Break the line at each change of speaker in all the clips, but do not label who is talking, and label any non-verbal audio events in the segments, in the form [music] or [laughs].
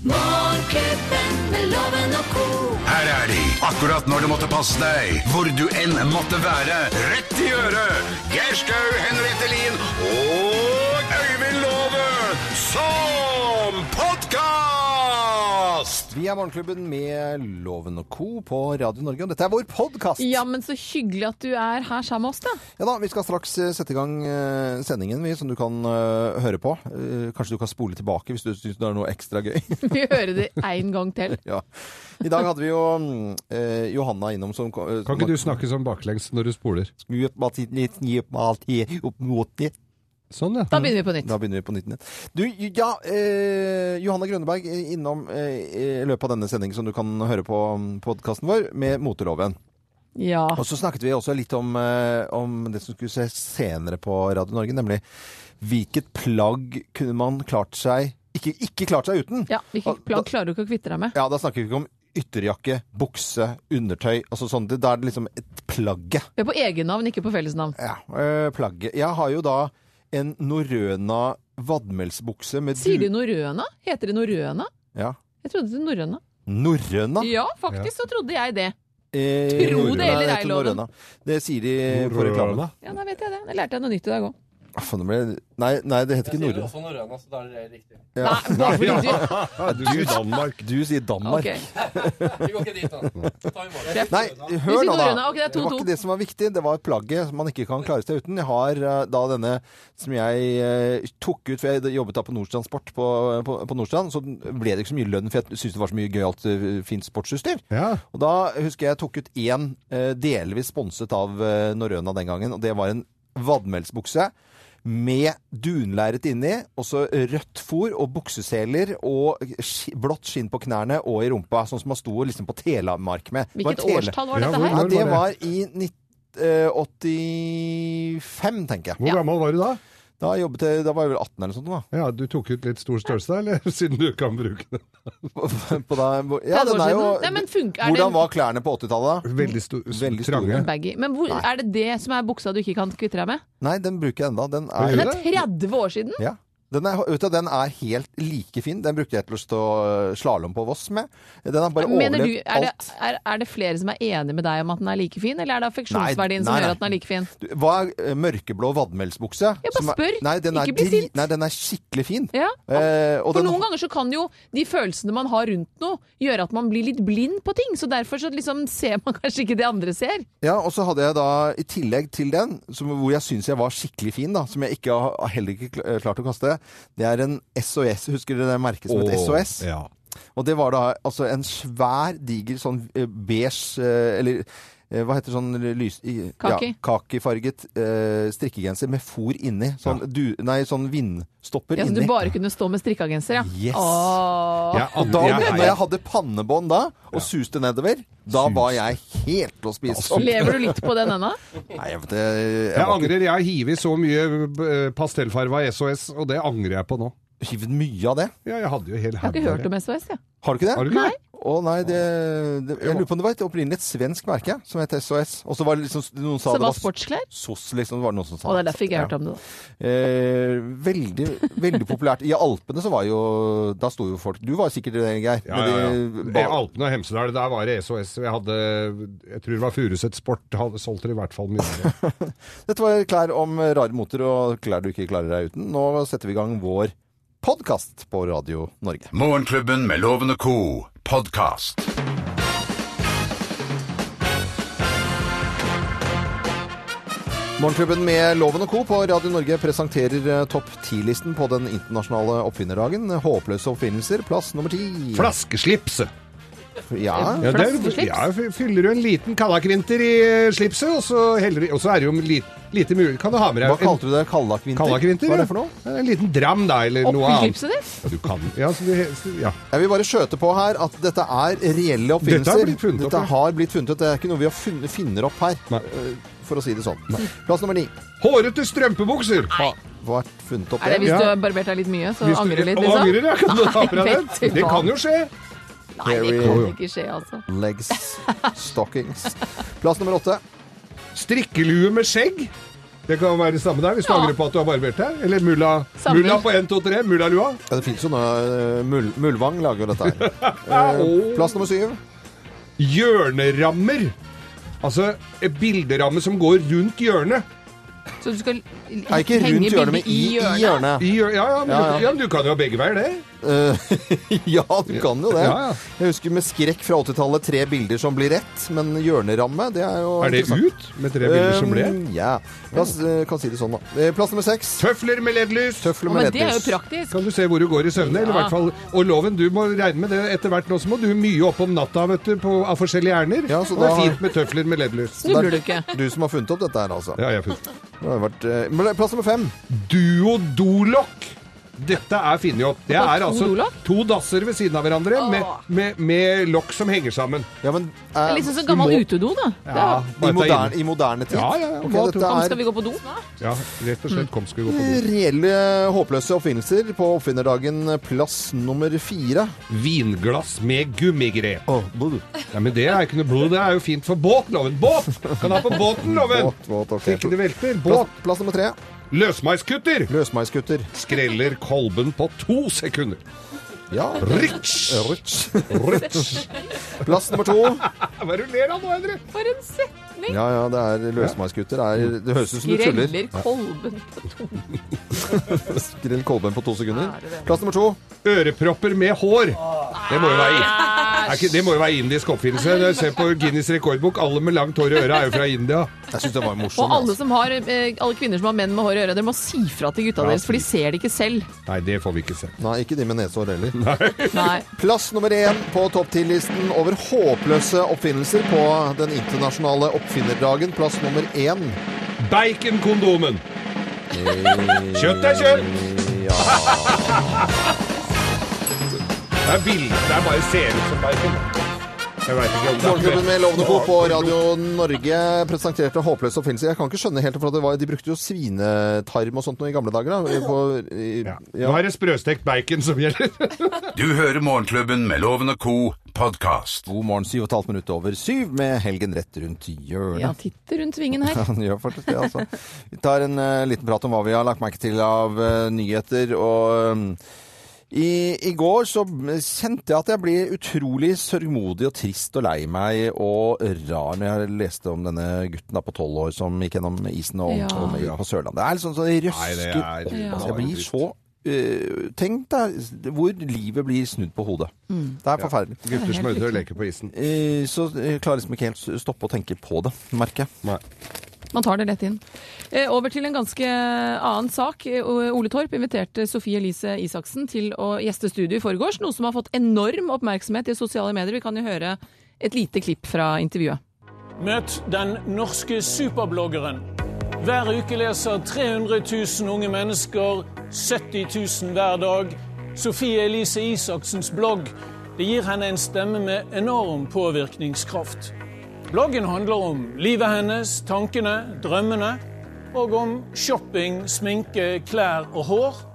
Morgenklubben med loven og ko.
Her er de, akkurat når du måtte passe deg, hvor du enn måtte være. Rett i øret! Geir Skau, Henriette Lien og Øyvind Låve som podkast!
Vi er Morgenklubben med Loven og Co. på Radio Norge, og dette er vår podkast!
Ja, men så hyggelig at du er her sammen med oss, da.
Ja da, vi skal straks eh, sette i gang eh, sendingen, vi, som du kan eh, høre på. Eh, Kanskje du kan spole tilbake hvis du syns det er noe ekstra gøy.
[laughs] Vi hører det en gang til.
ja. I dag hadde vi jo mm, eh, Johanna innom som Kan
Kan ikke du snakke sånn baklengs når du spoler?
Da
Sånn, ja.
Da begynner vi på nytt.
begynner vi på nytt igjen. Du, ja, eh, Johanna Grønneberg eh, innom eh, i løpet av denne sendingen som du kan høre på podkasten vår, med moteloven.
Ja.
Og så snakket vi også litt om, eh, om det som skulle se senere på Radio Norge, nemlig hvilket plagg kunne man klart seg Ikke, ikke klart seg uten!
ja Hvilket plagg klarer du ikke å kvitte deg med?
Ja, da snakker vi ikke om ytterjakke, bukse, undertøy. Altså sånn, det, da er det liksom et plagget.
Vi er på egennavn, ikke på fellesnavn.
Ja, øh, plagget. Jeg har jo da en norrøna vadmelsbukse med
Sier de norrøna? Heter de norrøna?
Ja.
Jeg trodde det var norrøna.
Norrøna?
Ja, faktisk så trodde jeg det.
Eh,
Tro det
norrøna
eller
heter
ei, Loven.
norrøna. Det sier de på reklamen.
Ja, da vet jeg det. Da lærte jeg noe nytt i dag òg.
Ah, faen, det ble- Nei, nei, det heter ikke norrøna.
også norrøna, så da er det riktig.
Nei, bare fordi du-
[laughs] Du sier Danmark.
Du sier Danmark.
Ok.
Vi går ikke dit,
[laughs]
da. Ta i morgen.
Nei, hør
sier
nå, da.
norrøna. Ok, det er
det var
2-2.
ikke det som var viktig. Det var plagget som man ikke kan klare seg uten. Jeg har eh, da denne som jeg eh, tok ut, for jeg jobbet da på Nordstrand Sport på, eh, på, på Nordstrand. Så ble det ikke så mye lønn, for jeg syntes det var så mye gøyalt eh, fint sportsutstyr.
Ja.
Og da husker jeg tok ut én, eh, delvis sponset av eh, Norrøna den gangen, og det var en vadmelsbukse. Med dunlæret inni, og så rødt fôr og bukseseler og sk- blått skinn på knærne og i rumpa. Sånn som man sto liksom på Telemark med. Det var
Hvilket
tele-
årstall var
Ja,
dette
hvor-
her?
ja,
Når
det
var
var i 1985, tenker jeg.
Hvor gammel var du da?
Da, jobbet jeg, da [laughs] var jeg vel 18 eller noe sånt.
Ja, Du tok ut litt stor størrelse, da, eller? [laughs] Siden du kan bruke den.
da. På, på da ja,
30 år
den er jo,
siden? Nei, men funker, er
hvordan
det
var klærne på 80-tallet? da?
Veldig, sto
Veldig store.
trange.
baggy? Men hvor, er det det som er buksa du ikke kan kvitte deg med?
Nei, den bruker jeg enda. Den
Hva
er,
Det
gjør
er 30 år siden!
ja. den, er, vet du, den er helt like fin. Den brukte jeg til å stå slalåm på Voss med. Den har bare
Mener du,
overlevd
er, det,
alt.
er, er det flere som er enige med deg om at den er like fin, eller er det
Nei,
affeksjonsverdien som
nei, nei.
gjør at den er like fin?
Du, Hva er eh, mørkeblå vadmelsbukse?
Jeg bare
Som er-
spør.
Nei, den er,
Ikke bli
dri-
sint.
Nei, den er skikkelig fin.
Ja.
Eh, og
For
den-
noen ganger så kan jo de følelsene man har rundt noe, gjøre at man blir litt blind på ting. Så derfor så liksom ser man [laughs] kanskje ikke det andre ser.
Ja, og så hadde jeg da i tillegg til den, som, hvor jeg syns jeg var skikkelig fin, da, som jeg ikke har, heller ikke kl- klart å kaste, det er en SOS. Husker dere det merket som het
Åh,
SOS?
Ja.
Og det var da altså en svær, diger sånn eh, beige eh, Eller eh, hva heter sånn lys... i-
Kaki.
kakifarget eh, strikkegenser med fôr inni. Sånn, du, nei, sånn vindstopper
Ja, så du
inni.
bare kunne stå med strikkeagenser, ja.
Yes.
Åh.
Jeg,
Og da,
jeg,
når jeg hadde pannebånd da, og suste nedover, da
Sus.
var jeg helt til å spise opp.
Lever du litt på den ennå?
Nei, jeg, det, jeg
jeg
var ikke-
angrer. Jeg har hivet så mye eh, pastellfarva SOS, og det angrer jeg på nå.
hivd mye av det.
Ja, jeg hadde jo hele
Jeg har ikke
haug
hørt
der.
om SOS, jeg.
Har du ikke det?
Har du ikke det?
Å nei, det, det, jeg lurer på om det var et opprinnelig et svensk merke som het SOS. Og så var det liksom noen sa
Som
det
var
var
sportsklær.
SOS, liksom. Det var noen som sa
Og det er derfor ikke jeg har hørt om det. da.
Eh, veldig, veldig populært. I Alpene så var jo Da sto jo folk Du var sikkert det, Geir.
Ja,
med
ja, ja.
de-
Det er Alpene og Hemsedal, der var det SOS. Jeg, hadde, jeg tror det var Furuset Sport. Hadde, solgte det i hvert fall mye. av det.
Dette var klær om rare moter og klær du ikke klarer deg uten. Nå setter vi i gang vår podkast på Radio Norge.
Morgenklubben med Loven og Co. podkast.
Morgenklubben med Loven og Co. på Radio Norge presenterer eh, topp ti-listen på den internasjonale oppfinnerdagen. Håpløse oppfinnelser, plass nummer ti.
Flaskeslips!
Ja.
Ja, der,
Flaskeslips?
ja, f- fyller du en liten kallakvinter i eh, slipset, og så, heller, du- og så er det jo li, lite mulig Kan du ha med deg
Hva kalte du det? Kallakvinter?
Kallakvinter?
Hva er det for noe?
Ja, En liten dram, da, eller
Opp
noe
i
annet.
slipset ditt.
Ja, du kan. Ja, så du, ja.
Jeg vil bare skjøte på her at dette er reelle oppfinnelser.
Dette har blitt funnet opp,
Dette
ja.
har blitt funnet opp. Det er ikke noe vi har funnet, finner opp her,
Nei.
eh, for å si det sånn. Plass nummer ni.
Hårete strømpebukser!
Hva har vært funnet opp
Er det
det?
hvis
Ja.
du har barbert deg litt mye, så
Hvis du-
angrer du litt,
Å,
liksom?
Angrer, ja. Kan du ta fra den?
vet du
Det
hva.
kan jo skje.
Nei, det kan ikke skje, altså.
Legs, stockings. Plass nummer åtte.
Strikkelue med skjegg. Det kan være det samme der, hvis du
Ja.
angrer på at du har barbert deg. Eller mulla,
Samme.
mulla på 1, 2, 3. Mullalua.
Ja, det fins jo noe eh, Mul Mulvang lager jo
[laughs]
dette her. Eh, Plass nummer syv.
Hjørnerammer. Altså en bilderamme som går rundt hjørnet.
Så du skal
Nei, ikke
henge
rundt hjørnet,
bildet
men i, i hjørnet.
I, hjør- ja, ja,
Ja,
men,
ja.
Du, ja, men du kan jo ha begge veier, det.
[laughs] ja, du kan jo det.
Ja, ja.
Jeg husker med skrekk fra 80-tallet tre bilder som blir rett, men hjørneramme, det er jo
Er det
interessant.
ut med tre bilder som ble?
Eh, Ja. Plass, eh, kan si det sånn, da. Eh, Plass nummer seks.
Tøfler med LED-lys.
Tøfler
Men
med
det er jo
lettlys.
praktisk.
Kan du se hvor du går i søvne? Eller i
Ja.
hvert fall, og loven, du må regne med det etter hvert nå, så må du mye opp om natta vet du, på, av forskjellige ærender.
Ja, så
og det
da-
er fint med tøfler med LED-lys.
Det er
Snubler du ikke?
Du som har funnet opp dette her, altså.
Det har jeg funnet.
Det har jo vært, eh, men det er plass nummer fem.
Duodolokk. Dette er funnet opp. Det
Hva,
er
to
altså
dolokk?
to dasser ved siden av hverandre med, med, med lokk som henger sammen.
Ja, men eh,
Det er liksom sånn gammel utedo, da. Det er,
Ja,
i,
bare ta
moderne,
inn.
I moderne tid?
Ja, ja, ja.
Ok,
Hva tror
dette
Kom,
er
skal vi gå på do?
ja, rett og slett. Kom, skal vi gå på do.
Reelle håpløse oppfinnelser på oppfinnerdagen eh, plass nummer fire.
Vinglass med gummigrep.
Oh,
Nei, men det er ikke noe blod. Det er jo fint for båt, loven. Båt! Kan ha på båten, loven.
båt, båt,
Så
ok.
ikke det velter.
Plass,
Båt.
plass nummer tre.
Løsmeiskutter.
Løsmeiskutter.
skreller kolben på to sekunder.
Ja.
Rich!
Rutsch.
Rich.
Plass nummer to.
Hva er det du ler av nå, Endre?
For en setning!
Ja, ja, det er løsmeiskutter. Det, er- det høres ut som du tuller.
Greller kolben på do.
Grell kolben på to sekunder.
Er det det?
Plass nummer to.
Ørepropper med hår. Det må jo være, er ikke, det må jo være indisk oppfinnelse. Når jeg ser på Guinness rekordbok, alle med langt hår i øra er jo fra India.
Jeg syns det var morsomt. altså.
Og alle, som har, eh, alle kvinner som har menn med hår i øret, dere må si fra til gutta
Ja,
deres, for de
si.
ser det ikke selv.
Nei, det får vi ikke se.
Nei, ikke de med nesehår heller.
Nei.
Plass nummer én på topp 10-listen over håpløse oppfinnelser på den internasjonale oppfinnerdagen. Plass nummer én.
Baconkondomen. Kjøtt er kjøtt.
Ja.
Det er bilder der bare ser ut som bacon. Jeg vet ikke om det
Morgenklubben
er
med Lovende Co. på Radio Norge presenterte håpløse oppfinnelser. Jeg kan ikke skjønne helt, for at det var, de brukte jo svinetarm og sånt noe i gamle dager. Da. På, i,
ja.
ja.
Nå er det sprøstekt bacon som gjelder.
Du hører Morgenklubben med Loven og co. podkast.
God morgen, syv og et halvt minutt over syv, med helgen rett rundt
Ja,
hjørnet.
titt rundt svingen her.
Han gjør faktisk det, altså. Vi tar en eh, liten prat om hva vi har lagt merke til av eh, nyheter. og... eh, I, I går så kjente jeg at jeg ble utrolig sørgmodig og trist og lei meg og rar når jeg leste om denne gutten da på tolv år som gikk gjennom isen og
Ja.
omkom i- på Sørlandet. Det er litt sånn så det
Nei, det
røsker
er
opp.
bare
Altså, jeg blir
dritt.
så øh, Tenk deg hvor livet blir snudd på hodet. Det er forferdelig.
Gutter som øder og leker på isen.
Eh, Så eh, klarer jeg liksom ikke helt å stoppe å tenke på det, merker jeg.
Nei.
Man tar det lett inn. Eh, Over til en ganske annen sak. Eh, Ole Torp inviterte Sofie Elise Isaksen til å gjeste studio i forgårs, noe som har fått enorm oppmerksomhet i sosiale medier. Vi kan jo høre et lite klipp fra intervjuet.
Møt den norske superbloggeren. Hver uke leser 300 000 unge mennesker, 70 000 hver dag, Sofie Elise Isaksens blogg. Det gir henne en stemme med enorm påvirkningskraft. Bloggen handler om livet hennes, tankene, drømmene, og om shopping, sminke, klær og hår.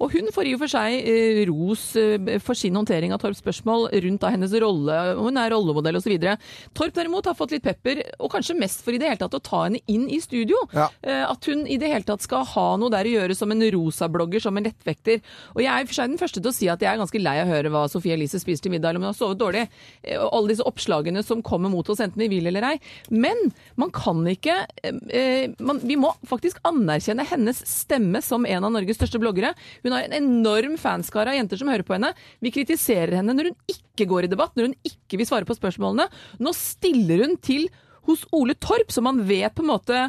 Og hun får i og for seg eh, ros eh, for sin håndtering av Torps spørsmål rundt da hennes rolle, om hun er rollemodell osv. Torp derimot har fått litt pepper, og kanskje mest for i det hele tatt å ta henne inn i studio.
Ja.
Eh, At hun i det hele tatt skal ha noe der å gjøre som en rosablogger, som en lettvekter. Og jeg er i og for seg den første til å si at jeg er ganske lei av å høre hva Sofie Elise spiser til middag, eller om hun har sovet dårlig. eh, Og alle disse oppslagene som kommer mot oss, enten vi vil eller ei. Men man kan ikke eh, eh, man, Vi må faktisk anerkjenne hennes stemme som en av Norges største bloggere. Hun har en enorm fanskare av jenter som hører på henne. Vi kritiserer henne når hun ikke går i debatt, når hun ikke vil svare på spørsmålene. Nå stiller hun til hos Ole Torp, som man vet på en måte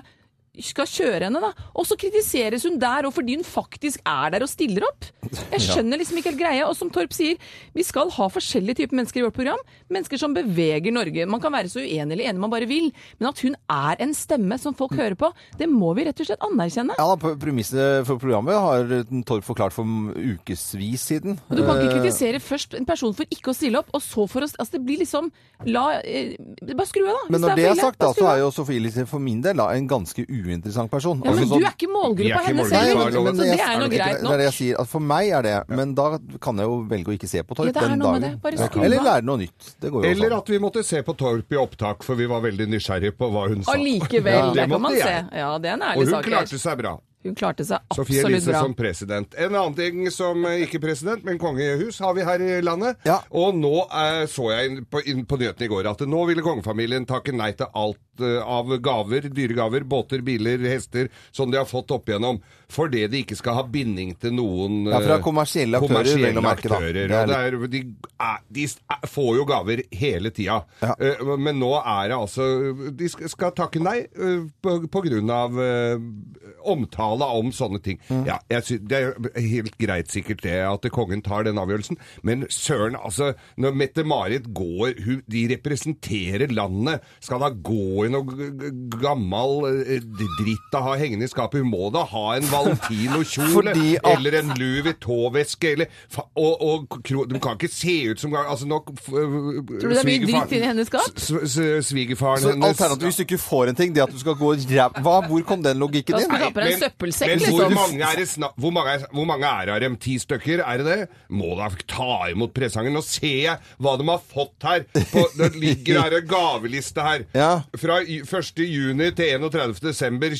skal kjøre henne, da. Og så kritiseres hun der og fordi hun faktisk er der og stiller opp. Jeg skjønner liksom ikke helt greia. Og som Torp sier, vi skal ha forskjellige typer mennesker i vårt program. Mennesker som beveger Norge. Man kan være så uenig eller enig man bare vil, men at hun er en stemme som folk hører på, det må vi rett og slett anerkjenne.
Ja, da, på- Premissene for programmet har Torp forklart for ukevis siden.
Du kan ikke
Eh,
kritisere først en person for ikke å stille opp, og så for å Altså, det blir liksom La eh, Bare skru av, da.
Men når det er sagt, da, så er
jo
jo Sofie Elise for min del da, en ganske uinteressant person.
Ja, men
Altså sånn-
du er ikke
Jeg er
målgruppa
ikke
hennes
målgruppa,
heller,
jeg har lov
så det
jeg-
er nå
ikke-
greit
Det er
nok.
det jeg sier, at for meg er det, men da kan jeg jo velge å ikke se på Torp
Ja, det er
den
noe med
dagen.
det. Bare
Ja.
skru
Eller
av.
lære noe nytt. Det går jo
Eller
også an.
at vi måtte se på Torp i opptak, for vi var veldig nysgjerrige på hva hun sa.
Allikevel,
Ja, det
det kan man
måtte
se.
jeg.
Ja, det er en
Og
ærlig
hun
sak.
klarte
Lars.
seg bra.
Hun klarte seg
Sofie
absolutt
Elise
bra.
som president. En annen ting som eh, ikke president, men kongehus har vi her i landet.
Ja.
Og nå eh, så jeg inn på, inn på nyhetene i går at nå ville kongefamilien takke nei til alt eh, av gaver, dyregaver, båter, biler, hester, som de har fått opp igjennom, fordi de ikke skal ha binding til noen
Ja, fra
eh,
kommersielle aktører, vel
kommersielle
å merke, da.
aktører.
Det er
Og det er, de, er, de er- får jo gaver hele tida.
Ja.
Eh, Men nå er det altså De sk- skal takke nei eh, på, på grunn av eh, omtale om sånne ting.
Mm.
Ja, jeg sy det er helt greit sikkert det at kongen tar den avgjørelsen, men søren, altså Når Mette-Marit går hun, De representerer landet. Skal da gå i noe g- g- gammal eh, dritt å ha hengende i skapet? Hun må da ha en Valentino-kjole
[laughs] Fordi at-
eller en Louis Vuitton-veske eller fa- Og, og kro, de kan ikke se ut som altså, nok,
Tror du det er mye dritt inni hennes skap?
S- s- Svigerfaren
Så
hennes
alternativet hvis du ikke får en ting, det er at du skal gå og ræv... Hva? Hvor kom den logikken
Da
inn?
skal du ha på deg en søppelsekk,
men hvor,
liksom.
mange er det sna hvor, mange er, hvor mange er det av dem? Ti stykker? Er det det? Må da ta imot presangen. Nå ser jeg hva de har fått her. På, det ligger her en gaveliste her.
Ja.
Fra i- 1. juni til 31. desember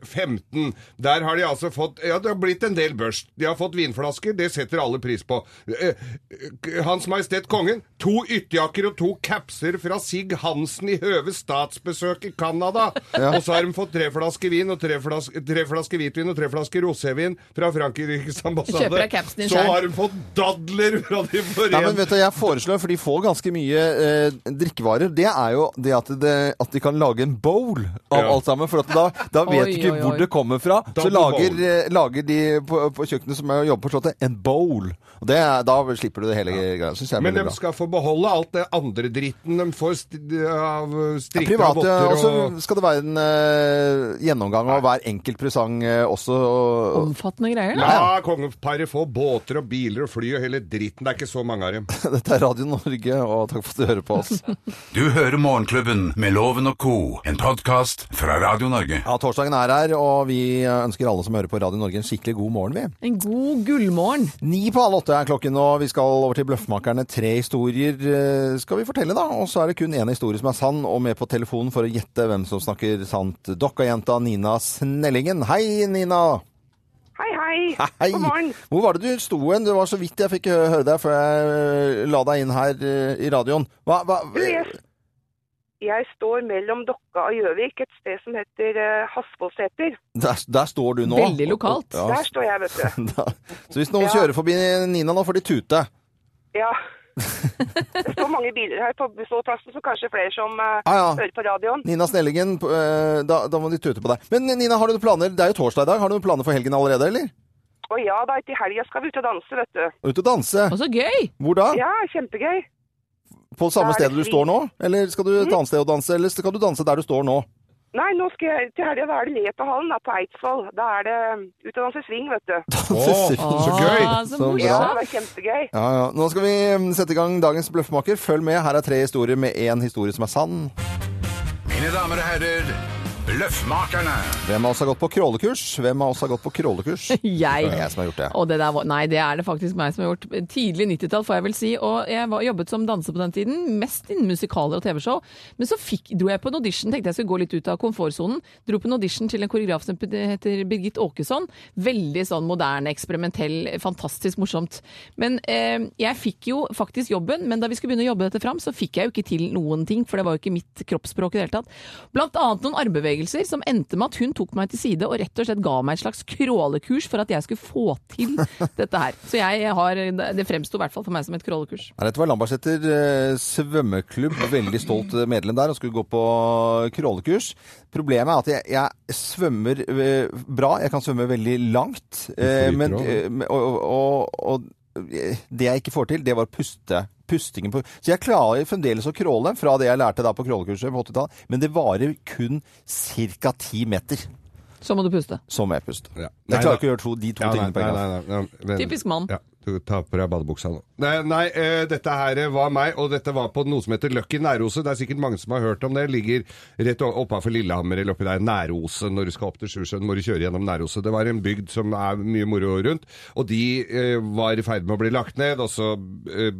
2015. Der har de altså fått Ja, det har blitt en del børst. De har fått vinflasker. Det setter alle pris på. Eh, eh, Hans Majestet Kongen. To ytterjakker og to capser fra Sig Hansen i Høves statsbesøk i Canada. Og så har de fått tre flasker vin og tre flasker, tre flasker hvitvin og tre flasker rosévin fra Frankrikes ambassade.
Kjøper deg capsen din
så
selv.
har de fått dadler fra De
Nei, men
forente
vet du, Jeg foreslår, for de får ganske mye eh, drikkevarer, det er jo det at, det at de kan lage en bowl av
Ja.
alt sammen. For at da, da vet
Oi,
du ikke
oi,
hvor
oi.
det kommer fra. Så
Double
lager,
bowl.
eh, lager de på, på kjøkkenet som er- jobber på Slottet, en bowl. Og det, er- Da slipper du det hele greia. Synes jeg er
Men
veldig
de
bra.
skal få beholde alt det andre dritten de får st
Ja,
av strikka
private, altså-
votter
og
og
så skal det være en eh, gjennomgang av hver enkelt presang eh, også. Og,
Omfattende greier. da.
Ja, kongeparet får båter og biler og fly og hele dritten. Det er ikke så mange av
[laughs]
dem.
dette er Radio Norge, og takk for at du hører på
[laughs]
oss.
Du hører Morgenklubben med Loven og Co., en podkast fra Radio Norge.
Ja, Torsdagen er her, og vi ønsker alle som hører på Radio Norge en skikkelig god morgen, vi.
En god gullmorgen.
Ni på halv åtte er klokken, og vi skal over til Bløffmakerne. Tre historier eh, skal vi fortelle, da. Og så er det kun én historie som er sann, og med på telefonen for å gjette hvem som snakker sant. Dokkajenta Nina Snellingen. Hei, Nina!
Hei, hei.
Hei!
God morgen.
Hvor var det du sto hen? Det var så vidt jeg fikk eh, høre deg før jeg eh, la deg inn her eh, i radioen. Hva, hva
Du, jeg, jeg står mellom Dokka og Gjøvik, et sted som heter uh, Hasvollseter.
der, der står du nå.
Veldig lokalt.
Ja,
Der står jeg, vet du.
[laughs] da. Så hvis noen
Ja.
kjører forbi Nina nå, får de tute.
Ja.
[laughs]
Det står mange biler her på bussholdeplassen, så kanskje flere som eh,
Ah, ja.
hører på radioen.
Nina Snellingen, eh, da, da må de tute på deg. Men Nina, har du noen planer? Det er jo torsdag i dag. Har du noen planer for helgen allerede, eller?
Og ja da, til helga skal vi ut og danse, vet du.
Ut og danse.
Og så gøy!
Hvor da?
Ja, kjempegøy.
På samme
Da er det
stedet du
Mhm. fri.
står nå? Eller skal du et annet sted og danse, eller skal du danse der du står nå?
Nei, nå skal jeg til helga, da er det Lepahallen da, på Eidsvoll. Da er det eh, ut og danse swing, vet du.
[laughs]
Så gøy!
Ah,
Så
så
bra.
Ja,
morsomt.
det er kjempegøy.
Ja, ja. Nå skal vi mm, sette i gang dagens bløffmaker. Følg med, her er tre historier med én historie som er sann.
Mine damer og herrer, Løffmakerne.
Hvem av oss har gått på krålekurs? Hvem av oss har gått på krålekurs?
[laughs]
Det er jeg
Jeg.
som har gjort det.
Og det der var, nei, det er det faktisk meg som har gjort. Tidlig 90-tall, får jeg vel si. Og jeg var, jobbet som danser på den tiden, mest innen musikaler og TV-show. Men så fikk, dro jeg på en audition, tenkte jeg skulle gå litt ut av komfortsonen. Dro på en audition til en koreograf som heter Birgit Åkesson. Veldig sånn moderne, eksperimentell, fantastisk morsomt. Men eh, jeg fikk jo faktisk jobben, men da vi skulle begynne å jobbe dette fram, så fikk jeg jo ikke til noen ting, for det var jo ikke mitt kroppsspråk i det hele tatt. Blant annet noen armbevegelser som endte med at hun tok meg til side og rett og slett ga meg et slags krålekurs for at jeg skulle få
[laughs]
til dette her. Så jeg har, det fremsto i hvert fall for meg som et krålekurs.
Nei, Dette var Lambertseter eh, svømmeklubb, veldig stolt eh, medlem der, og skulle gå på eh, krålekurs. Problemet er at jeg, jeg svømmer eh, bra, jeg kan svømme veldig langt, eh,
flyter
men,
også.
eh, men- og, og, og eh, det jeg ikke får til, det var puste. Pustingen på. Så jeg klarer fremdeles å kråle fra det jeg lærte da på krålekurset på 80-tallet, men det varer kun ca. ti meter.
Så må du puste.
Så må jeg puste.
Ja. Nei,
Jeg klarer
da-
ikke å gjøre to, de to
Ja, nei,
tingene på en
nei,
gang.
nei, nei, nei, men-
Typisk mann.
Ja. Du tar på deg badebuksa nå. Nei, nei eh, dette her var meg, og dette var på noe som heter Løkken Næroset. Det er sikkert mange som har hørt om det. Ligger rett oppafor Lillehammer eller oppi der. Næroset. Når du skal opp til Sjusjøen, må du kjøre gjennom Næroset. Det var en bygd som er mye moro rundt, og de eh, var i ferd med å bli lagt ned. Og så eh,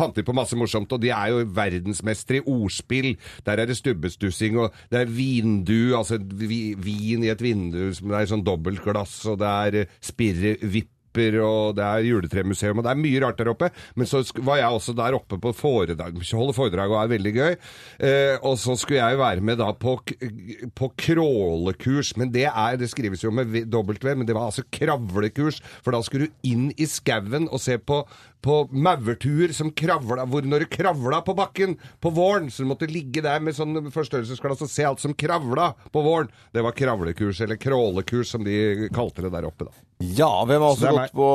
fant de på masse morsomt, og de er jo verdensmestere i ordspill. Der er det stubbestussing, og det er vindu, altså vi, vin i et vindu som det er sånn dobbeltglass, og det er eh, spirrevipp kopper, og det er juletremuseum, og det er mye rart der oppe. Men så sk- var jeg også der oppe på foredrag, holde foredrag, og er veldig gøy. Eh, og så skulle jeg være med da på, k- på krålekurs, men det er, det skrives jo med V- W, men det var altså kravlekurs, for da skulle du inn i skauen og se på på maurtuer som kravla hvor Når du kravla på bakken på våren, så du måtte ligge der med sånn forstørrelsesglass og se alt som kravla på våren. Det var kravlekurs, eller krålekurs, som de kalte det der oppe, da.
Ja, hvem har også
Så det er
gått på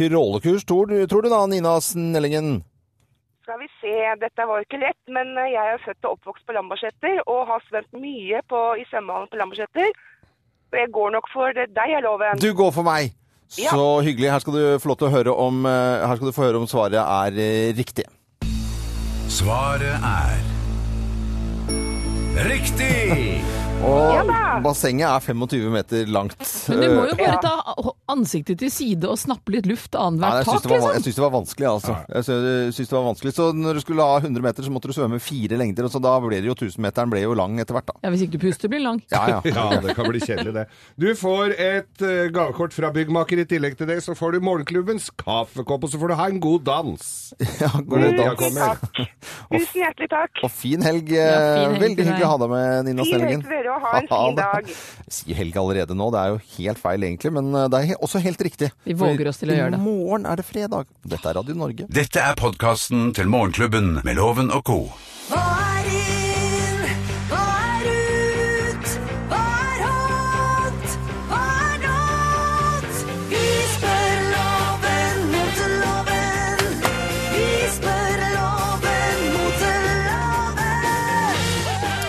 krålekurs, tror du, tror du da, Nina Snellingen?
Skal vi se, dette var jo ikke lett, men eh, jeg er født og oppvokst på Lambertseter og har svømt mye på, i svømmehallen på Lambertseter. Så jeg går nok for eh, deg, jeg loven.
Du går for meg!
Ja.
Så hyggelig. Her skal du få lov til å høre om, eh, her skal du få høre om svaret er eh, riktig.
Svaret er Riktig!
Og
da.
bassenget er 25 meter langt.
Men du må jo
Eh,
bare
Ja.
ta ansiktet til side og snappe litt luft
Nei,
annethvert
jeg syns
tak,
det, var, jeg
liksom.
syns det var vanskelig, altså. Jeg syns, jeg syns det var vanskelig. Så når du skulle ha 100 meter, så måtte du svømme fire lengder, og så da ble det jo 1000-meteren ble jo lang etter hvert, da.
Ja, Hvis ikke du puster, blir den lang.
Ja, [laughs] ja.
Ja, det kan bli kjedelig, det. Du får et eh, gavekort fra byggmaker. I tillegg til det så får du morgenklubbens kaffekopp, og så får du ha en god dans.
ja god
Tusen
dag.
Tusen takk. Tusen hjertelig takk.
Og fin helg. eh,
Ja, fin helg til
Veldig
deg.
hyggelig å ha deg med, Nina
Fin helg
Snellingen.
til dere, og ha en fin dag.
[laughs] Si helg allerede nå, det er jo helt feil egentlig, men eh, det er he- også helt riktig.
Vi våger oss til å gjøre
I
det.
morgen er det fredag. Dette er Radio Norge.
Dette er podkasten til Morgenklubben med Loven og co.
Hva er inn? Hva er ut? Hva er hot? Hva er not? Vi spør loven mot loven. Vi spør loven mot loven.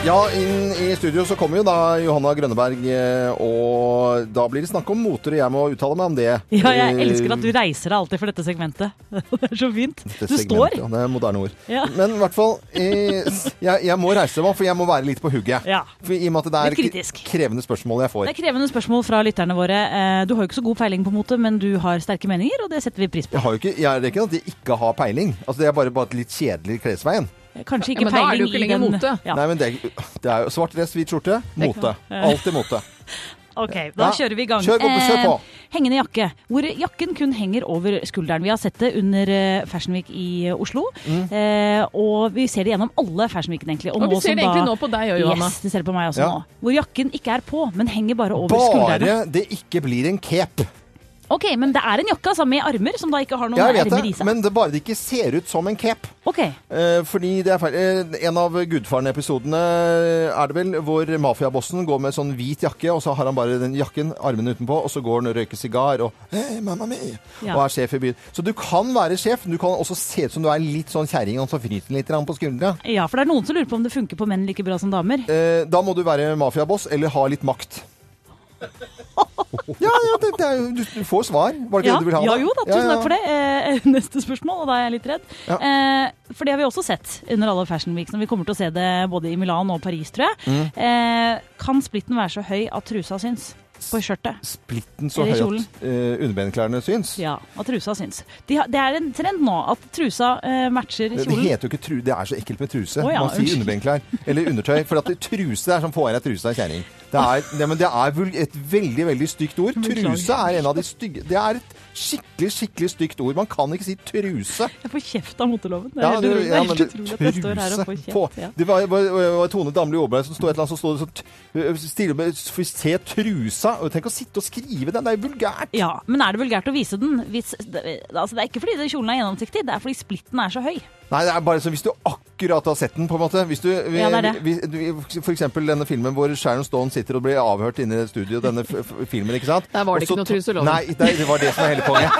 Ja, inn i studio så kommer jo da Johanna Grønneberg, eh, og da blir det snakk om moter, og jeg må uttale meg om det. Eh,
Ja, jeg elsker at du reiser deg alltid for dette segmentet. [laughs] Det er så fint.
Det
Du står.
segmentet, ja, Det er moderne ord.
Ja.
Men i hvert fall, eh, jeg, jeg må reise meg, for jeg må være litt på hugget.
Ja.
For I og med at det er
Litt kritisk.
k- krevende spørsmål jeg
Det
får.
er krevende spørsmål fra lytterne våre. Eh, Du har jo ikke så god peiling på mote, men du har sterke meninger, og det setter vi pris på.
Jeg har jo ikke, jeg, det er ikke at jeg ikke har peiling. Altså, det er bare, bare et litt kjedelig klesveien.
Kanskje
Ja,
ikke
men da er det
peiling
jo ikke
i
lenger
den
mote.
Ja.
Nei, men det, det er jo svart dress, hvit skjorte, mote. Alltid mote.
[laughs] Ok, da
Ja.
kjører vi i gang.
Kjør på, kjør på.
Eh, hengende jakke, hvor jakken kun henger over skulderen. Vi har sett det under eh, Fashion Week i eh, Oslo,
Mm.
eh, og vi ser det gjennom alle Fashion Weekene, egentlig.
Og vi
som
ser det egentlig nå på deg òg, Johanna.
Yes, det ser det på meg også
Ja.
nå. Hvor jakken ikke er på, men henger bare over skuldrene.
Bare det ikke blir en cape.
Ok, men det er en jakke altså, med armer, som da ikke har noen
Jeg vet
ermer i
det,
seg.
men det bare det ikke ser ut som en cape.
Ok,
Eh, fordi det er feil. Eh, en av Gudfaren-episodene er det vel, hvor mafiabossen går med sånn hvit jakke, og så har han bare den jakken, armene utenpå, og så går han og røyker sigar og hey, mamma mi,
Ja.
og er sjef i byen. Så du kan være sjef, men du kan også se ut som du er litt sånn kjerring, og så fryser den litt grann på skuldrene.
ja, for det er noen som lurer på om det funker på menn like bra som damer.
Eh, da må du være mafiaboss eller ha litt makt. ja, ja det, det er, jo- du, du får svar. Var det ikke
Ja,
det du ville ha?
ja jo da, tusen takk for det. Eh, [laughs] neste spørsmål, og da er jeg litt redd.
Ja.
Eh, for det har vi også sett under alle Fashion Weeks, og vi kommer til å se det både i Milan og Paris, tror jeg.
Mm.
Eh, kan splitten være så høy at trusa syns på skjørtet?
Splitten så
Eller
høy
kjolen.
at eh, underbenklærne syns.
Ja, at trusa syns. De har, det er en trend nå at trusa eh, matcher
Det, det
kjolen.
heter jo ikke tru, det er så ekkelt med truse.
Å ja,
Man sier
unnskyld.
underbenklær. Eller undertøy. For at det- truse er som få av deg trusa, kjerring. Det er, nei, men det er vul- et veldig, veldig stygt ord. Truse er en av de stygge Det er et skikkelig, skikkelig stygt ord. Man kan ikke si truse.
Jeg får kjeft av moteloven. Det er
Ja,
helt
du-
utrolig. Det
ja,
er
men
helt utrolig at
du-
jeg står her og får
truse på.
kjeft. Ja.
Det var, var, var Tone Damli Aaberg som stod et eller annet, så stod det sånn t- øh, stille med f- Se trusa. Og Tenk å sitte og skrive den, det er jo vulgært.
Ja, men er det vulgært å vise den? Hvis, det, altså det er ikke fordi den kjolen er gjennomsiktig, det er fordi splitten er så høy.
Nei, det er bare sånn hvis du akkurat har sett den, på en måte. Hvis du, vi,
Ja, det er det.
Vi, vi, for eksempel denne filmen hvor Sharon Stone sitter og blir avhørt inne i studio, denne f f filmen, ikke sant?
Der var det
Og så
ikke noe
to-
truselov.
Nei, det, det var det som var hele poenget.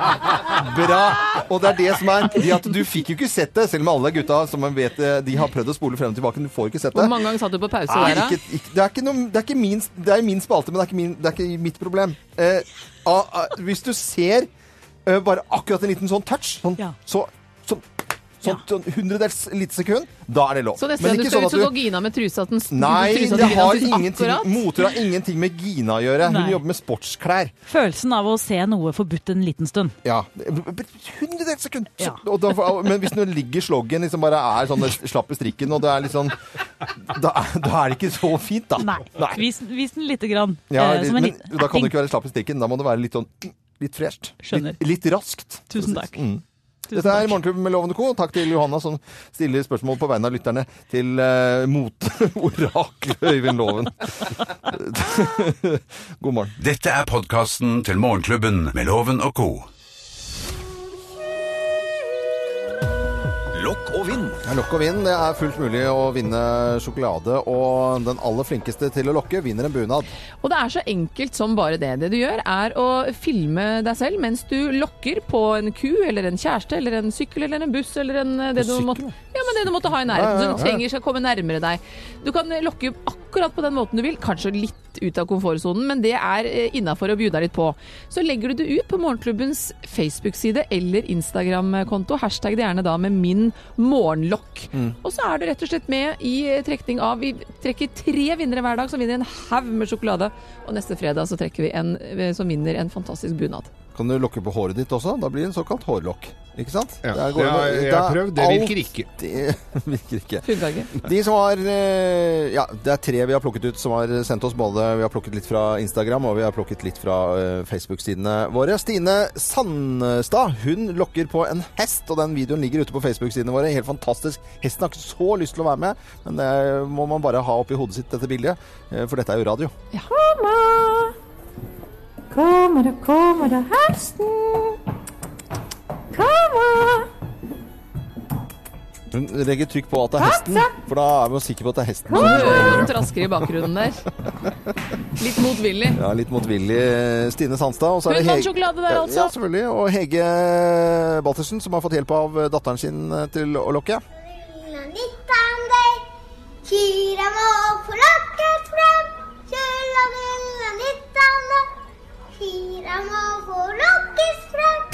[laughs] Bra! Og det er det som er det at du fikk jo ikke sett det, selv om alle gutta som man vet, eh, de har prøvd å spole frem og tilbake, men du får ikke sett
Hvor
det.
mange ganger satt du på pause
Nei,
der, da?
ikke, ikke, det er ikke, noe, det er ikke min, det er min spalte, men det er ikke, min, det er ikke mitt problem. Eh, ah, ah, hvis du ser eh, bare akkurat en liten sånn touch, sånn,
Ja.
så, sånn, sånn, sånn hundredels lite sekund, da er det lov. sånn
Så neste gang du skal ut, så går Gina med trusa til
Nei, det har ingenting
akkurat.
Moter har ingenting med Gina å gjøre. Hun
Nei.
jobber med sportsklær.
Følelsen av å se noe forbudt en liten stund.
Ja. Hundredels sekund! Så-
Ja.
og da får- men hvis nå ligger sloggen liksom bare er sånn slapp i strikken, og det er litt sånn da, er- da er det ikke så fint, da.
Nei. Vis, vis den lite grann.
Ja,
eh, som en
men
liten
da kan det
erting.
ikke være slapp i strikken. Da må det være litt sånn litt fresht.
Skjønner.
Litt, litt raskt.
Tusen takk. Tusen
Dette er
takk.
Morgenklubben med Lovende Co. Takk til Johanna som stiller spørsmål på vegne av lytterne til uh, [laughs] moteoraklet Øyvind Loven. [laughs] God morgen.
Dette er podkasten til Morgenklubben med Loven og co. Lokk og vinn.
Ja, Lokk og vinn. Det er fullt mulig å vinne sjokolade. Og den aller flinkeste til å lokke vinner en bunad.
Og det er så enkelt som bare det. Det du gjør er å filme deg selv mens du lokker på en ku eller en kjæreste eller en sykkel eller en buss eller en eh, det,
På
du
sykkel,
måtte,
ja?
ja, men det du måtte ha
Ja,
i
ja,
nærheten.
ja,
som Du
ja.
trenger skal komme nærmere deg. Du kan eh, lokke akkurat på den måten du vil, kanskje litt ut av komfortsonen, men det er eh, innafor å bjude deg litt på. Så legger du det ut på Morgenklubbens Facebook-side eller Instagram-konto. Hashtag det gjerne da med 'min morgenlokk'. Og så er du rett og slett med i eh, trekning av Vi trekker tre vinnere hver dag som vinner en haug med sjokolade. Og neste fredag så trekker vi en eh, som vinner en fantastisk bunad.
Kan du lokke på håret ditt også? Da blir det en såkalt hårlokk. Ikke sant?
Ja.
Der går
Det har
det-
jeg
da-
prøvd. Det virker ikke.
Det [laughs] virker ikke.
Funka ikke?
De som har eh, Ja, det er tre vi har plukket ut som har sendt oss både Vi har plukket litt fra Instagram, og vi har plukket litt fra eh, Facebook-sidene våre. Stine Sandstad hun lokker på en hest, og den videoen ligger ute på Facebook-sidene våre. Helt fantastisk. Hesten har ikke så lyst til å være med, men det må man bare ha oppi hodet sitt, dette bildet. eh, For dette er jo radio.
Kommer det, kommer det hesten? Kommer!
Hun legger trykk på at det er hesten, for da er vi jo sikre på at det er hesten. som
Hører hun trasker i bakgrunnen der. Litt motvillig.
Ja, litt motvillig eh, Stine Sandstad. Og så er
Hun
det
vant
Hege,
sjokolade der, altså.
ja, selvfølgelig. Og Hege Baltersen, som har fått hjelp av eh, datteren sin eh, til å lokke. [laughs]
Kyrne må få lokket frem, kjøla lilla nittane. Kyrne må få lokkes frem.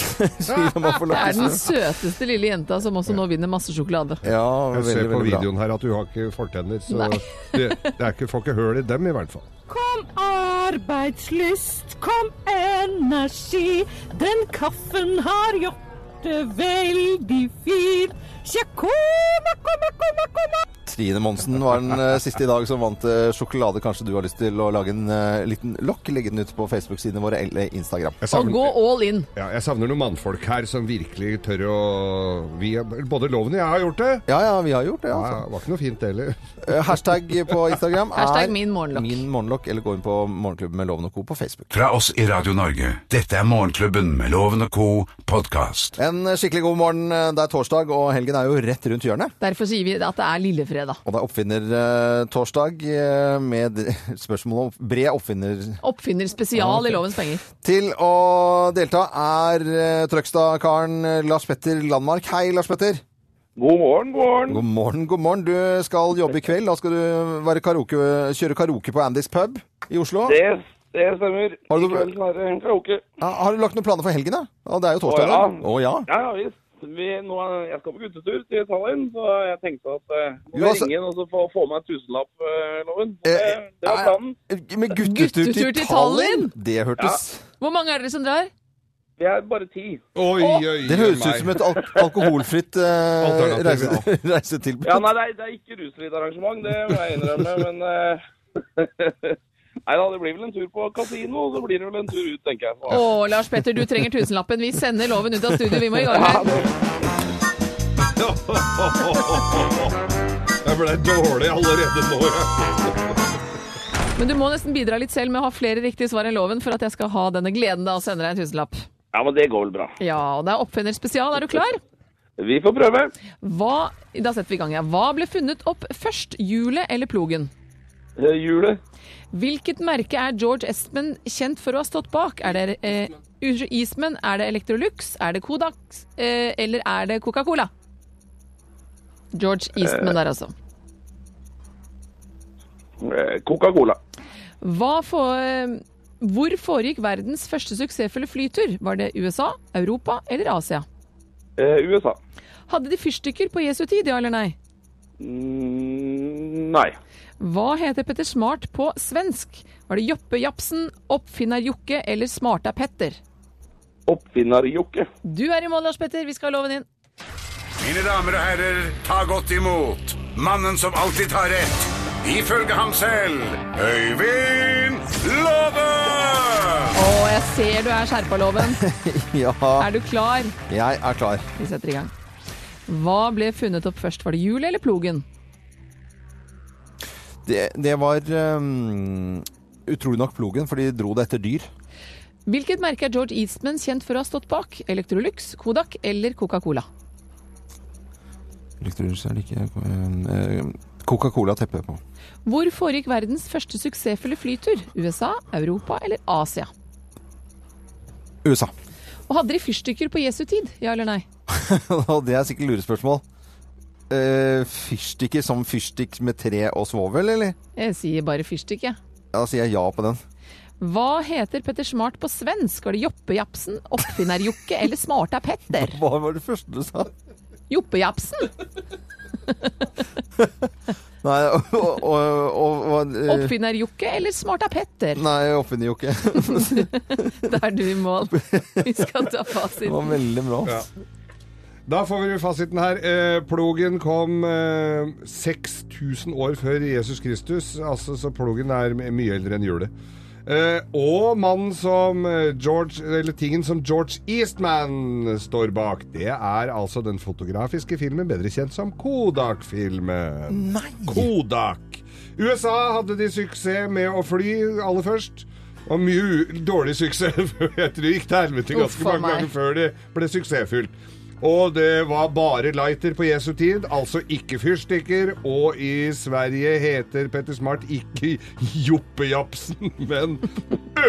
Sier om å få
Det er den
lokkes.
søteste lille jenta som også nå vinner masse sjokolade.
Ja,
Jeg
veldig,
ser på
veldig bra.
videoen her at du har ikke fortenner, så [laughs] det, det er ikke, får ikke høl i dem i hvert fall.
Kom arbeidslyst, kom energi. Den kaffen har gjort det veldig fin. Tja, kom, kom, kom, kom.
Trine Monsen var den eh, siste i dag som vant eh, sjokolade. Kanskje du har lyst til å lage en eh, liten lokk? Legge den ut på Facebook-sidene våre eller Instagram.
Jeg
Og gå all in.
ja, jeg savner noen mannfolk her som virkelig tør å vi, Både loven og jeg har gjort det.
Ja, ja, vi har gjort det.
Ja,
Altså.
det var ikke noe fint det heller.
Eh, Hashtag på Instagram er
[laughs] Hashtag min morgenlokk.
Min morgenlokk, eller gå inn på Morgenklubben med Loven og Co. på Facebook.
Fra oss i Radio Norge. Dette er Morgenklubben med Loven og co. podkast.
En eh, skikkelig god morgen. Det er torsdag, og helgen er jo rett rundt hjørnet.
Derfor sier vi at det er lillefredag.
Og det er oppfinnertorsdag eh, med [laughs] spørsmål om bred oppfinner.
Oppfinner spesial i lovens penger.
Til å delta er eh, Trøgstad-karen eh, Lars Petter Landmark. Hei, Lars Petter.
God morgen, god morgen.
God morgen, god morgen. Du skal jobbe i kveld. Da skal du være karaoke, kjøre karaoke på Andys pub i Oslo.
Det, det stemmer.
Har du-
I kveld så er det en karaoke.
Ja, Har du lagt noen planer for helgen, da? Ja, det er jo
Å,
torsdag.
ja.
da. Å ja.
Ja, ja visst. Vi, nå, er- jeg skal på guttetur til Tallinn, så jeg tenkte at eh,
Jo,
nå må jeg
altså-
ringe inn og så få, få meg en tusenlapp, eh, Loven. Så Det,
Eh,
det var
eh,
planen.
Med guttetur,
Guttetur
til
til
Tallinn!
Tallinn?
Det hørtes
Hvor mange er dere som drar?
Vi er bare ti.
Oi, oi, oi.
Det høres ut som et al alkoholfritt eh,
Alternativ,
reise [laughs]
ja.
reisetilbud.
Ja, nei, det er, det er ikke rusfritt arrangement, det må jeg innrømme, men eh, Nei da, det blir vel en tur på kasino, og så blir det vel en tur ut, tenker jeg.
Å,
Så,
Lars Petter, du [laughs] trenger tusenlappen. Vi sender loven ut av studio. Vi må i gang her.
Jeg ble dårlig allerede nå. Ja.
Men du må nesten bidra litt selv med å ha flere riktige svar enn loven for at jeg skal ha denne gleden da og sende deg en tusenlapp.
ja, men det går vel bra.
Ja, og det er oppfinner spesial. Er du klar?
Vi får prøve.
Hva, da setter vi i gang, ja. Hva ble funnet opp først? Hjulet eller plogen?
Eh, Hjulet.
Hvilket merke er George Espen kjent for å ha stått bak? Er det eh, unnskyld, Eastman, er det Electrolux, er det Kodak, eh, eller er det Coca-Cola? George Eastman der, altså.
Eh, Coca-Cola.
Hva får eh, Hvor foregikk verdens første suksessfulle flytur? Var det USA, Europa eller Asia?
Eh, USA.
Hadde de fyrstikker på Jesu tid, ja eller nei?
Mm, nei.
Hva heter Petter Smart på svensk? Var det Joppe Japsen, Oppfinner Jokke eller Smarta Petter?
Oppfinnerjokke.
Du er i mål, Lars Petter. Vi skal ha loven inn.
Mine damer og herrer, ta godt imot mannen som alltid tar rett, ifølge ham selv, Øyvind Låve!
Å, jeg ser du er skjerpa, Loven.
Ja,
Er du klar?
jeg er klar.
Vi setter i gang. Hva ble funnet opp først? Var det hjulet eller plogen?
Det, det var ehm, utrolig nok plogen, for de dro det etter dyr.
Hvilket merke er George Eastman kjent for å ha stått bak? Electrolux, Kodak eller Coca-Cola?
Elektrolys er det ikke ehm, eh, Coca-Cola teppet på.
Hvor foregikk verdens første suksessfulle flytur? USA, Europa eller Asia?
USA.
Og hadde de fyrstikker på Jesu tid? Ja eller nei?
[laughs] Og det er sikkert lurespørsmål. Uh, fyrstikker som fyrstikk med tre og svovel, eller?
Jeg sier bare fyrstikk, jeg.
Da sier jeg ja på den. [laughs]
Hva heter Petter Smart på svensk? Var det Joppe-Japsen, Oppfinner-Jokke eller Smarta Petter?
Hva var det første du sa?
Joppe-Japsen?
Nei, og, og, og, og eh,
Oppfinner-Jokke eller Smarta Petter?
Nei, oppfinner jo [laughs] ikke. Det
Da er du i mål. Vi skal ta
var
fasiten.
veldig bra.
Ja. Da får vi fasiten her. Eh, Plogen kom eh, 6000 år før Jesus Kristus, altså, så plogen er m- mye eldre enn hjulet. Eh, og mannen som eh, George, eller tingen som George Eastman står bak, det er altså den fotografiske filmen, bedre kjent som Kodak-filmen. Kodak. USA hadde de suksess med å fly aller først. Og mye u- dårlig suksess. [laughs] for Jeg tror det gikk til helvete
Uff, a
ganske mange
meg.
ganger før det ble suksessfullt. Og det var bare lighter på Jesu tid, altså ikke fyrstikker. Og i Sverige heter Petter Smart ikke Joppe-Japsen, [laughs] men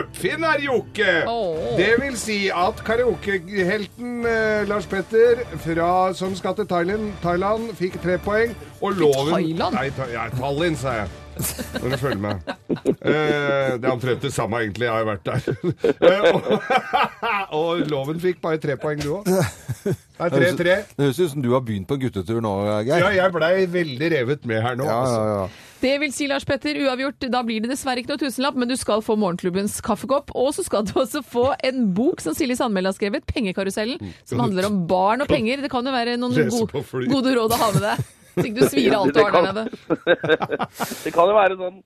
Oppfinner-Jokke!
Åh.
Det vil si at karaokehelten eh, Lars Petter, fra, som skal til Thailand, Thailand, fikk tre poeng. Og loven
Thailand?
Nei, ta, ja, Tallinn, sa jeg. Når du følger med. Eh, det er omtrent det samme, egentlig. Jeg har jo vært der. Eh, og, [laughs] og loven fikk bare tre poeng, du òg. Det er 3-3.
Det høres ut som du har begynt på guttetur nå, Geir.
Ja, jeg blei veldig revet med her nå.
Ja,
altså.
ja, ja.
Det vil si, Lars Petter, uavgjort. Da blir det dessverre ikke noe tusenlapp, men du skal få morgenklubbens kaffekopp. Og så skal du også få en bok som Silje Sandmæl har skrevet, 'Pengekarusellen', som handler om barn og penger. Det kan jo være noen
Mm. Lese
go
på fly.
gode råd å ha med deg. Så
[laughs]
ikke du svir av alt du har der nede.
Det kan jo være sånn.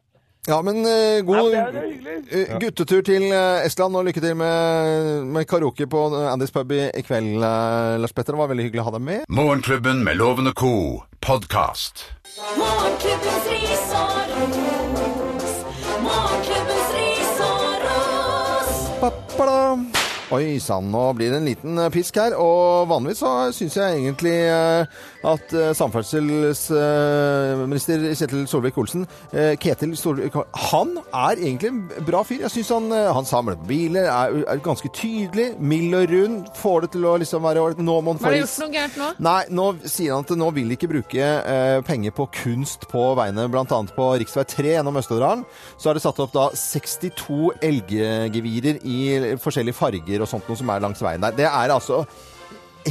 ja men eh,
Ja,
god
men det er- det er hyggelig.
eh, guttetur til eh, Estland, og lykke til med, med karaoke på eh, Andys pub i i kveld, eh, Lars Petter. Det var veldig hyggelig å ha deg med.
Morgenklubben med Loven og Co. podcast.
Morgenklubbens ris og ros. Morgenklubbens ris og ros.
Pappada. Oi sann, nå blir det en liten eh, pisk her. Og vanligvis så syns jeg egentlig eh, at eh, samferdselsminister Kjetil Solvik-Olsen eh, Ketil Solvik Han er egentlig en bra fyr. Jeg syns han, eh, han samler på biler, er, er ganske tydelig, mild og rund. Får det til å liksom være ålreit. Nå må han
Hva
få
har du
is.
gjort for noe gærent nå?
Nei, nå sier han at nå vil de ikke bruke eh, penger på kunst på veiene, bl.a. på rv. 3 gjennom Østerdalen. Så er det satt opp da 62 elggevirer i forskjellige farger og sånt noe som er langs veien der. Det er altså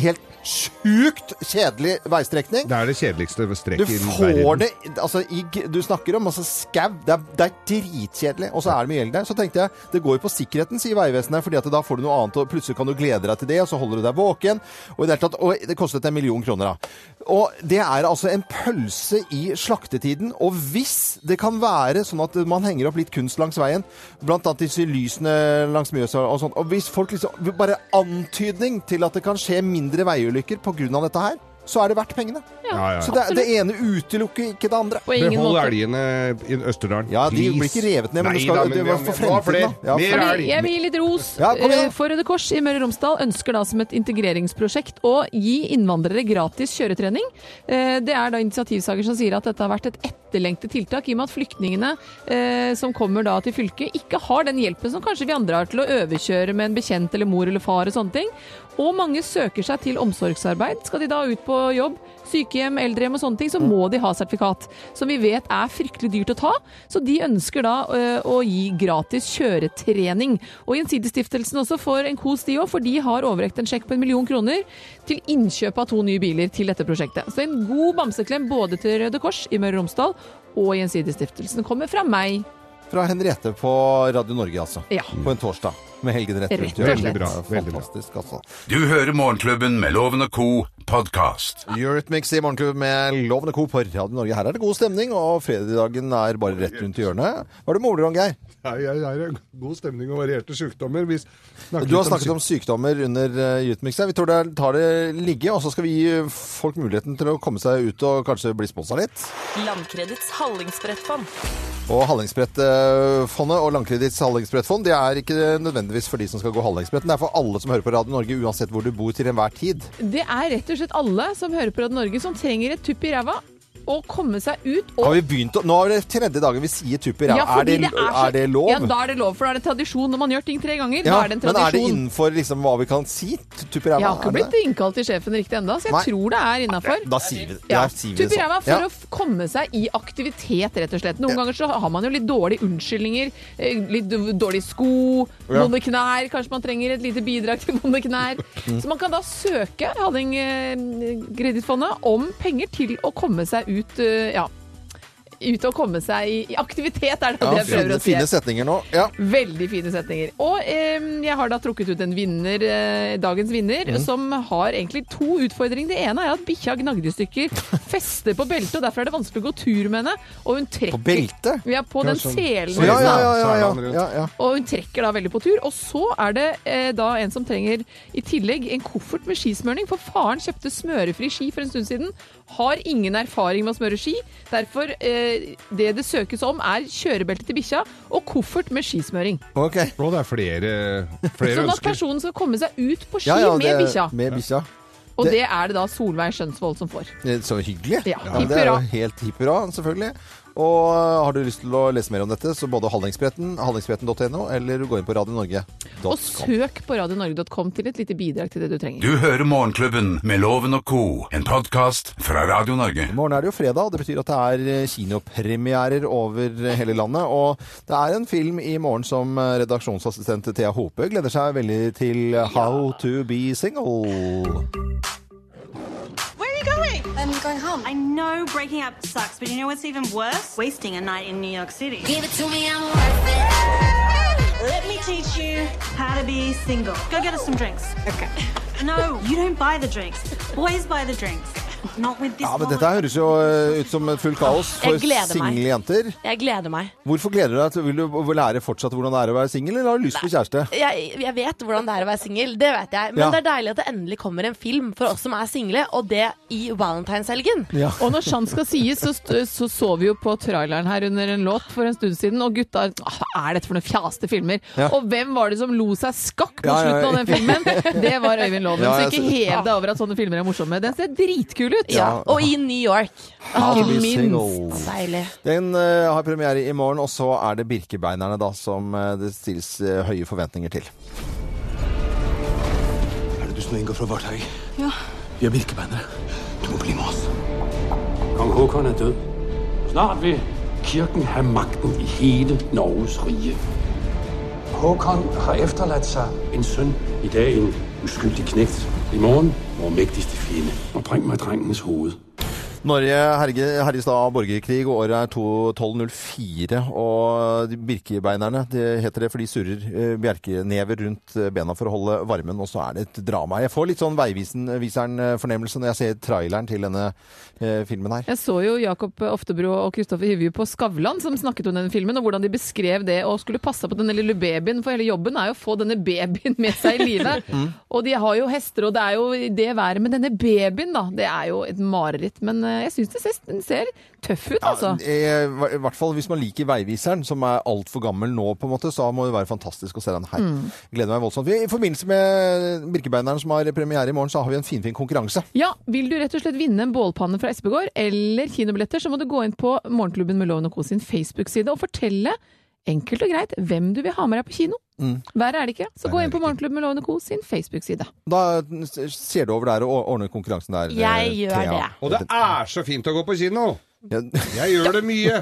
helt sjukt kjedelig veistrekning.
Det er det kjedeligste
Du
strekket i
får
verden.
det altså, i, g- Du snakker om altså, skau. Det, er- det er dritkjedelig. Og så er det mye elg der. Så tenkte jeg det går jo på sikkerheten, sier Vegvesenet. Fordi at da får du noe annet, og plutselig kan du glede deg til det, og så holder du deg våken. Og i det hele tatt Og det kostet en million kroner, da. Og det er altså en pølse i slaktetiden. Og hvis det kan være sånn at man henger opp litt kunst langs veien, blant annet disse lysene langs Mjøsa og sånt, og hvis folk liksom Bare antydning til at det kan skje mindre veiulykker pga. dette her, så er det verdt pengene.
Ja, ja.
Så det, det ene utelukker ikke det andre.
På ingen
Behold
måte.
elgene i Østerdalen.
Ja, de
please.
blir ikke revet ned, men
Nei
du skal,
da,
det
vi
var
har-
for
vi har
fremtiden.
flere.
da. Ja,
Mer
Jeg
elg.
vil, jeg vil gi litt ros.
Ja, kom igjen.
Eh, For Røde Kors i Møre og Romsdal ønsker da som et integreringsprosjekt å gi innvandrere gratis kjøretrening. Eh, Det er da initiativsaker som sier at dette har vært et etterlengtet tiltak, i og med at flyktningene eh, som kommer da til fylket, ikke har den hjelpen som kanskje vi andre har til å overkjøre med en bekjent eller mor eller far og sånne ting. Og mange søker seg til omsorgsarbeid. Skal de da ut på jobb, sykehjem, eldrehjem og sånne ting, så må de ha sertifikat. Som vi vet er fryktelig dyrt å ta, så de ønsker da eh, å gi gratis kjøretrening. Og Gjensidigestiftelsen også får en kos de òg, for de har overrekt en sjekk på en million kroner til innkjøp av to nye biler til dette prosjektet. Så en god bamseklem både til Røde Kors i Møre og Romsdal og Gjensidigestiftelsen kommer fra meg.
Fra Henriette på Radio Norge, altså.
Ja.
På en torsdag. Med helgen rett rundt.
Rett og
hjørnet.
slett. Veldig bra,
Ja, Fantastisk, altså.
Du hører Morgenklubben med Loven og Co. podkast.
Eurythmics i Morgenklubben med Lovende Co. på Radio Norge. Her er det god stemning, og fredagen er bare rett rundt hjørnet. Hva er det måler om, Geir?
Nei, jeg er en god stemning og varierte sykdommer. Vi snakker
Du har
litt
snakket om sykdommer under eh, Eurythmics. her. Vi tror det er- tar det ligge, og så skal vi gi folk muligheten til å komme seg ut og kanskje bli sponsa litt.
Landkredits hallingsbrettfond.
Og Hallingsbrettfondet og Langkreditts Hallingsbrettfond det er ikke nødvendigvis for de som skal gå Hallingsbretten. Det er for alle som hører på Radio Norge, uansett hvor du bor til enhver tid.
Det er rett og slett alle som hører på Radio Norge som trenger et tupp i ræva og komme seg ut og
Har vi begynt å, Nå er det tredje dagen vi sier tupp i ræva.
fordi
er, det-
så-
er det lov?
Ja, da er det lov, for da er det tradisjon når man gjør ting tre ganger.
Ja,
da er det en
men er det
tradisjon.
innenfor liksom, hva vi kan si? T- Tupp i ræva?
jeg har
er
ikke
det
blitt
det?
innkalt til sjefen riktig ennå, så jeg
Nei.
tror det er innafor.
Da sier vi,
Ja.
da sier vi
Tupp
det
i
sånn.
ræva for å f- komme seg i aktivitet, rett og slett. Noen ganger så har man jo litt dårlige unnskyldninger. eh, Litt d- dårlige sko,
Ja.
vonde knær. Kanskje man trenger et lite bidrag til vonde knær.
Mm.
Så man kan da søke Halling eh, Kredittfondet om penger til å komme seg ut eh, ja, ut og komme seg i, i aktivitet, er det
Ja,
jeg
fine,
prøver å si.
fine
her.
setninger nå. Ja.
Veldig fine setninger. Og em, jeg har da trukket ut en vinner, eh, dagens vinner,
Mm.
som har egentlig to utfordringer. Det ene er at bikkja gnagde i
[laughs]
stykker festet på beltet, og derfor er det vanskelig å gå tur med henne. Og hun trekker,
På beltet?
Ja, på den selen.
Ja, ja, ja,
hennes, da.
ja, ja, ja, ja.
Og hun trekker da veldig på tur. Og så er det eh, da en som trenger i tillegg en koffert med skismøring, for faren kjøpte smørefri ski for en stund siden. Har ingen erfaring med å smøre ski. Derfor, eh, det det søkes om, er kjørebelte til bikkja og koffert med skismøring.
Og det er flere, flere
Sånn at
ønsker.
personen skal komme seg ut på ski
Ja, ja,
med
det-
bikkja.
Med bikkja.
Og
det-
det er det da Solveig Skjønsvold som får.
Eh, Så hyggelig.
Ja,
men det er jo
hipp hurra.
helt hipp hurra, selvfølgelig. Og har du lyst til å lese mer om dette, så både Hallingsbretten, hallingsbretten.no, eller gå inn på
Og
radionorge.com.
søk på radionorge.com til et lite bidrag til det du trenger.
Du hører Morgenklubben med Loven og Co. en podkast fra Radio Norge.
I morgen er det jo fredag, og det betyr at det er eh, kinopremierer over eh, hele landet. Og det er en film i morgen som eh, redaksjonsassistent Thea Hope gleder seg veldig til How to be single.
Where are you going? I'm going home. I know breaking up sucks, but you know what's even worse? Wasting a night in New York City. Give it to me, I'm worth it. Let me teach you how to be single. Go get us some drinks. Okay. No, you don't buy the drinks. Boys buy the drinks. Not with this
Ja, men
woman.
dette her høres jo eh, ut som et fullt kaos for
Jeg gleder meg.
single jenter.
Jeg gleder meg.
Hvorfor gleder du deg? til- Vil du lære fortsatt hvordan det er å være singel, eller har du lyst på kjæreste?
Jeg, jeg vet hvordan det er å være singel, det vet jeg. Men
Ja.
det er deilig at det endelig kommer en film for oss som er single, og det i valentinshelgen.
[laughs] Og når sant skal sies, så, st- så så vi jo på traileren her under en låt for en stund siden, og gutta «Åh, Hva er dette for noen fjaste filmer?
Ja.
Og hvem var det som lo seg skakk
Ja,
mot
ja, ja.
slutten av
[laughs]
den filmen? Det var Øyvind Loven.
Ja, jeg
så ikke
ser-
hev deg over at sånne filmer er morsomme. Den ser dritkul ut.
Ja, Ja. og
i New York.
How to be
Ikke
single.
minst.
Deilig.
Den eh, har premiere i morgen, og så er det Birkebeinerne da, som eh, det stilles eh, høye forventninger til.
Er det du som er Inga fra Varthaug?
Ja.
Vi er birkebeinere. Du må bli med oss.
Kong Håkon er død. Snart vil kirken have magten i hele Norges rige. Håkon har efterladt sig en søn. I dag en uskyldig knægt. I morgen vores mægtigste fjende. Og bring mig drengens hoved.
Norge herge, herjes da av borgerkrig, og året er to- 1204. Og de Birkebeinerne det heter det fordi de surrer eh, bjerkenever rundt eh, bena for å holde varmen, og så er det et drama. Jeg får litt sånn Veiviseren-fornemmelse når jeg ser traileren til denne eh, filmen her.
Jeg så jo Jakob Oftebro og Kristoffer Hivju på Skavlan som snakket om den filmen, og hvordan de beskrev det og skulle passe på den lille babyen, for hele jobben er jo å få denne babyen med seg i live.
[laughs] Mm.
Og de har jo hester, og det er jo det været med denne babyen, da. Det er jo et mareritt. Men eh, jeg syns det ser, den ser tøff ut, altså.
Eh, I hvert fall hvis man liker Veiviseren, som er altfor gammel nå, på en måte, så må det være fantastisk å se den her.
Mm.
Gleder meg voldsomt. Vi- I forbindelse med Birkebeineren som har premiere i morgen, så har vi en finfin konkurranse.
Ja, vil du rett og slett vinne en bålpanne fra Espegård eller kinobilletter, så må du gå inn på Morgenklubben med Loven og Co sin Facebook-side og fortelle enkelt og greit hvem du vil ha med deg på kino.
Mm.
Verre er det ikke. Så
Verre
gå
er
inn på Morgenklubben med Lovende Co. sin Facebook-side.
Da ser du over der og ordner konkurransen der.
Jeg
eh,
gjør
Thea.
det.
Og det er så fint å gå på kino! Jeg gjør det mye.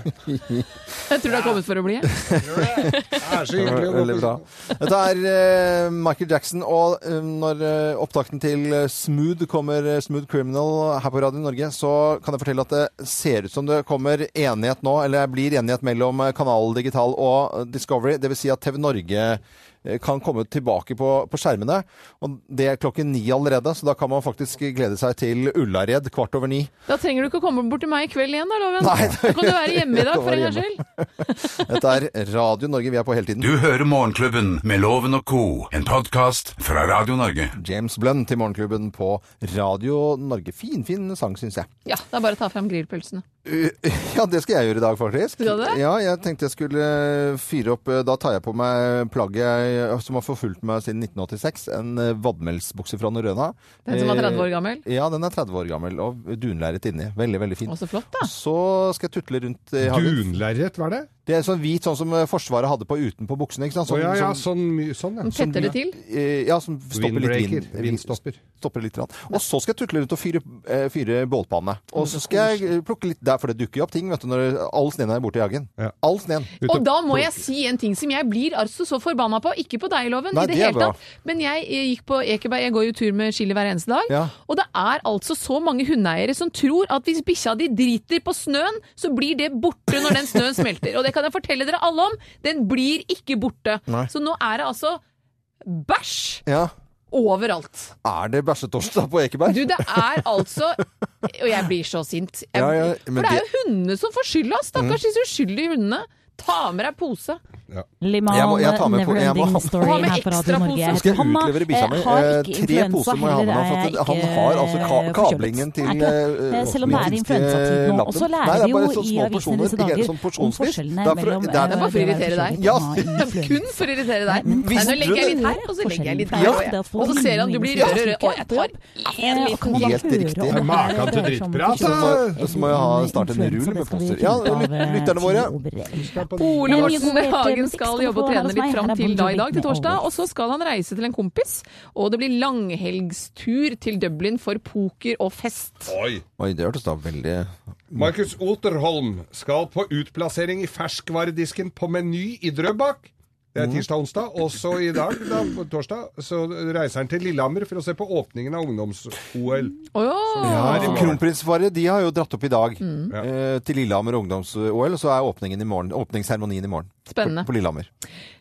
Jeg tror det har kommet for å bli.
Det er så hyggelig å gå
Veldig
på
bra. Dette er eh, Michael Jackson, og eh, når eh, opptakten til eh, Smooth kommer, eh, Smooth Criminal, her på Radio Norge, så kan jeg fortelle at det ser ut som det kommer enighet nå, eller blir enighet mellom eh, Kanal Digital og eh, Discovery. Det vil si at TV Norge eh, kan komme tilbake på, på skjermene. Og det er klokken ni allerede, så da kan man faktisk glede seg til Ullared kvart over ni.
Da trenger du ikke å komme bort til meg i kveld igjen, da, Loven. da kan du være hjemme i dag, for en gangs skyld.
Dette er Radio Norge, vi er på hele tiden.
Du hører Morgenklubben med Loven og co., en podkast fra Radio Norge.
James Blunt til Morgenklubben på Radio Norge. Fin, fin sang, syns jeg.
Ja, det er bare å ta frem grillpølsene.
[laughs] Ja, det skal jeg gjøre i dag, faktisk.
Skal du det?
Ja, jeg tenkte jeg skulle eh, fyre opp Da tar jeg på meg plagget jeg- som har forfulgt meg siden 1986. En eh, vadmelsbukse fra Norrøna.
Den som var
Eh,
30 år gammel?
Ja, den er 30 år gammel, og dunlerret inni. Veldig, veldig fin.
Å, så flott, da.
Så skal jeg tutle rundt i hagen.
Dunlerret, hva er det?
Det er sånn hvit, sånn som eh, Forsvaret hadde på utenpå buksene. ikke sant?
Å ja, ja, sånn, my- sånn ja.
som- Eh, Ja, som stopper litt vind.
Windbreaker, vindstopper.
Stopper litt. grann. Og så skal jeg tutle rundt og fyre, eh, fyre bålpanne. Og så skal jeg eh, plukke litt der, for det dukker jo opp ting vet du, når all sneen er borte i hagen. All sneen.
Og da må jeg si en ting som jeg blir altså så forbanna på. Ikke på deg, Loven,
Nei,
i det,
det er
hele
bra.
tatt. Men jeg eh, gikk på Ekeberg, jeg går jo tur med Chili hver eneste dag.
Ja.
Og det er altså så mange hundeeiere som tror at hvis bikkja di driter på snøen, så blir det borte når den snøen smelter. Og det kan jeg fortelle dere alle om. Den blir ikke borte.
Nei.
Så nå er det altså bæsj
Ja.
overalt.
Er det bæsjetorsdag på Ekeberg?
Du, det er altså Og jeg blir så sint. Jeg,
Ja, ja,
for
men
det er
det-
jo hundene som får skylda. Stakkars disse uskyldige hundene. Ta med deg pose.
Liman,
Jeg må- jeg tar med på- jeg må-
Neverending Story
Ha med
her på Radio
ekstra
Norge.
Nå skal jeg
Han,
utlevere
eh,
bikkja mi.
har
Eh,
ikke
Tre
influensa
poser må jeg ha med
heller, er jeg
meg. For at han
ikke
har altså ka
forkjølet.
kablingen til
Er ikke det?
eh,
Eh, Selv om det er
minste
influensatid nå. Og så lærer
lappen. Nei,
vi jo
det er bare sånn
i
små
avisene
porsjoner,
disse
ikke helt
dager
sånn
om
porsjonsvis.
forskjellene
Det er
mellom
for-
eh,
det er-
Det er bare for å irritere deg.
Ja.
Kun for å irritere deg. Nei, nå legger jeg litt her, og så legger jeg litt der. og jeg- Og så ser han du blir rød, rød. Å, jeg tar en liten
Helt riktig.
om det Maken her til dreier seg om
sånn-
Så
drittprat, forskjellige
må- Så må jeg ha snart en rull med poser. Ja,
eh,
lyt- lytterne våre.
Ole
Eh,
Morten
Morten
Hagen
Morten
skal
Morten
jobbe og
Morten
trene litt
Morten
fram
Morten
til da i
Morten
dag, til
Morten
torsdag. Og så skal han reise til en kompis, og det blir langhelgstur til Dublin for poker og fest.
Oi.
Oi, det hørtes da veldig
Markus Oterholm skal på utplassering i ferskvaredisken på Meny i Drøbak. Det er tirsdag-onsdag. Og så i dag, da, på torsdag, så reiser han til Lillehammer for å se på åpningen av ungdoms-OL.
Ja,
Ja.
Kronprinsparet de har jo dratt opp i dag
Mm.
eh, til Lillehammer ungdoms-OL, og så er åpningen i morgen, åpningsseremonien i morgen.
Spennende.
På, på Lillehammer.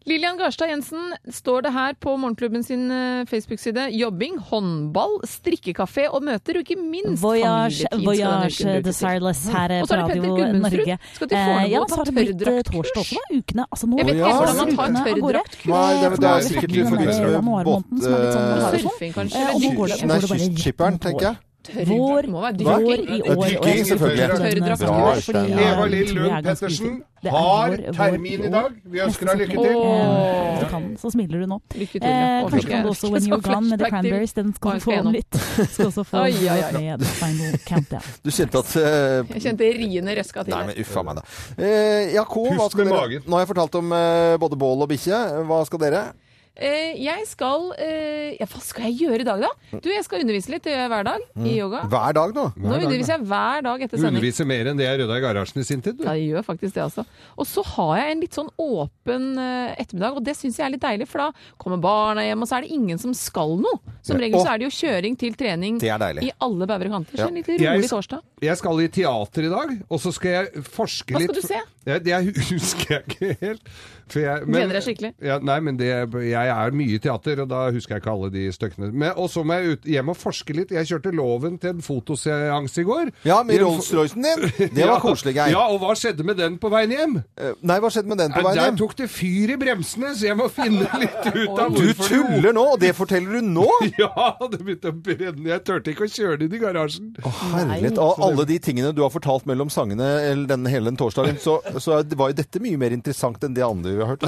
Lillian Garstad Jensen står det her på Morgenklubben sin eh, Facebook-side. Jobbing, håndball, strikkekafé og møter, og ikke minst
Voyage,
familietid skal denne uken
Voyage
brukes til.
Desireless her
Mm.
eh,
Og så
på
er det Petter
Radio
Gudmundsrud.
Norge.
Skal til
Eh,
Fornebu
ja,
og ta
så har det blitt eh,
tørrdraktkurs.
torsdag også, da. Ukene Altså nå
Jeg vet ikke hvordan man tar
Ukene av gårde.
tørrdraktkurs.
Nei, det, er- det er sikkert i
Januar-
forbindelse med
januar måneden, som er litt sånn
båt...
hard og sånn.
eh,
Surfing, kanskje.
Eh, og nå går det-
Nei,
går det bare rett
kystskipperen,
på
tenker jeg.
Vår,
Må være
vår i år.
dykking.
og jeg
Dykking, selvfølgelig.
tror den,
Tørrdrakt.
eh,
Bra,
fordi,
Øystein.
eh,
Eva Lill
tror jeg
Lund
er ganske
Pettersen
viktig. Det er
har
vår- vår
termin i dag. Vi ønsker henne lykke
Eh,
til.
hvis du kan, så smiler du nå.
til, ja.
Eh,
Og
kanskje
lykke.
kan du også When
Så
You're Gone med The
flashback til-
Cranberries. Den skal
Å,
du
jeg
få
skal
om
gjennom.
litt. Du skal også få
Oi, oi, oi.
med The Final Countdown.
Du kjente at eh,
Jeg kjente riene røska til.
Nei,
der.
men uffa meg, da. Eh, Jakob, hva
Pust
skal
med
dere?
magen.
Nå har jeg fortalt om eh, både bål og bikkje. Hva skal dere?
Eh, jeg skal eh, ja, Hva skal jeg gjøre i dag, da? Du, jeg skal undervise litt. Det gjør jeg hver dag
Mm.
i yoga.
Hver dag nå.
Nå underviser jeg hver dag etter
Du
sånn-
sending.
underviser mer enn det jeg rydda i garasjen i sin tid, du.
Ja, jeg gjør faktisk det, altså. Og så har jeg en litt sånn åpen eh, ettermiddag, og det syns jeg er litt deilig, for da kommer barna hjem, og så er det ingen som skal noe. Som
Ja.
regel
Å.
så er det jo kjøring til trening
Det er deilig.
i alle bauger og kanter. Så
Ja.
en litt rolig
Jeg-
torsdag.
Jeg skal i teater i dag, og så skal jeg forske
Hva skal
litt.
du se?
Jeg, [laughs] husker jeg ikke helt. For jeg,
Gleder deg skikkelig?
Ja, nei, men det, jeg er mye i teater, og da husker jeg ikke alle de stykkene. Men- Og så må jeg ut, hjem og forske litt. Jeg kjørte loven til en fotoseanse i går.
Ja, med
I en-
Rolls-Roycen din. Det var koselig, Geir.
[laughs]
Eh,
Ja, og hva skjedde med den på veien hjem?
Nei, hva skjedde med den på veien hjem?
Der tok det fyr i bremsene, så jeg
[laughs]
må finne litt ut av
Du
hvorfor det-
tuller nå, og det forteller du nå?
[laughs] Ja, det begynte å brenne. Jeg turte ikke å kjøre det inn i garasjen.
Herlighet. Og alle de tingene du har fortalt mellom sangene eller den, hele den torsdagen, så, så er- var jo dette mye mer interessant enn det andre vi har hørt i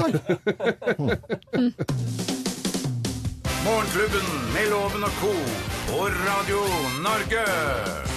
dag.
Morgenklubben med Loven og co. på Radio Norge.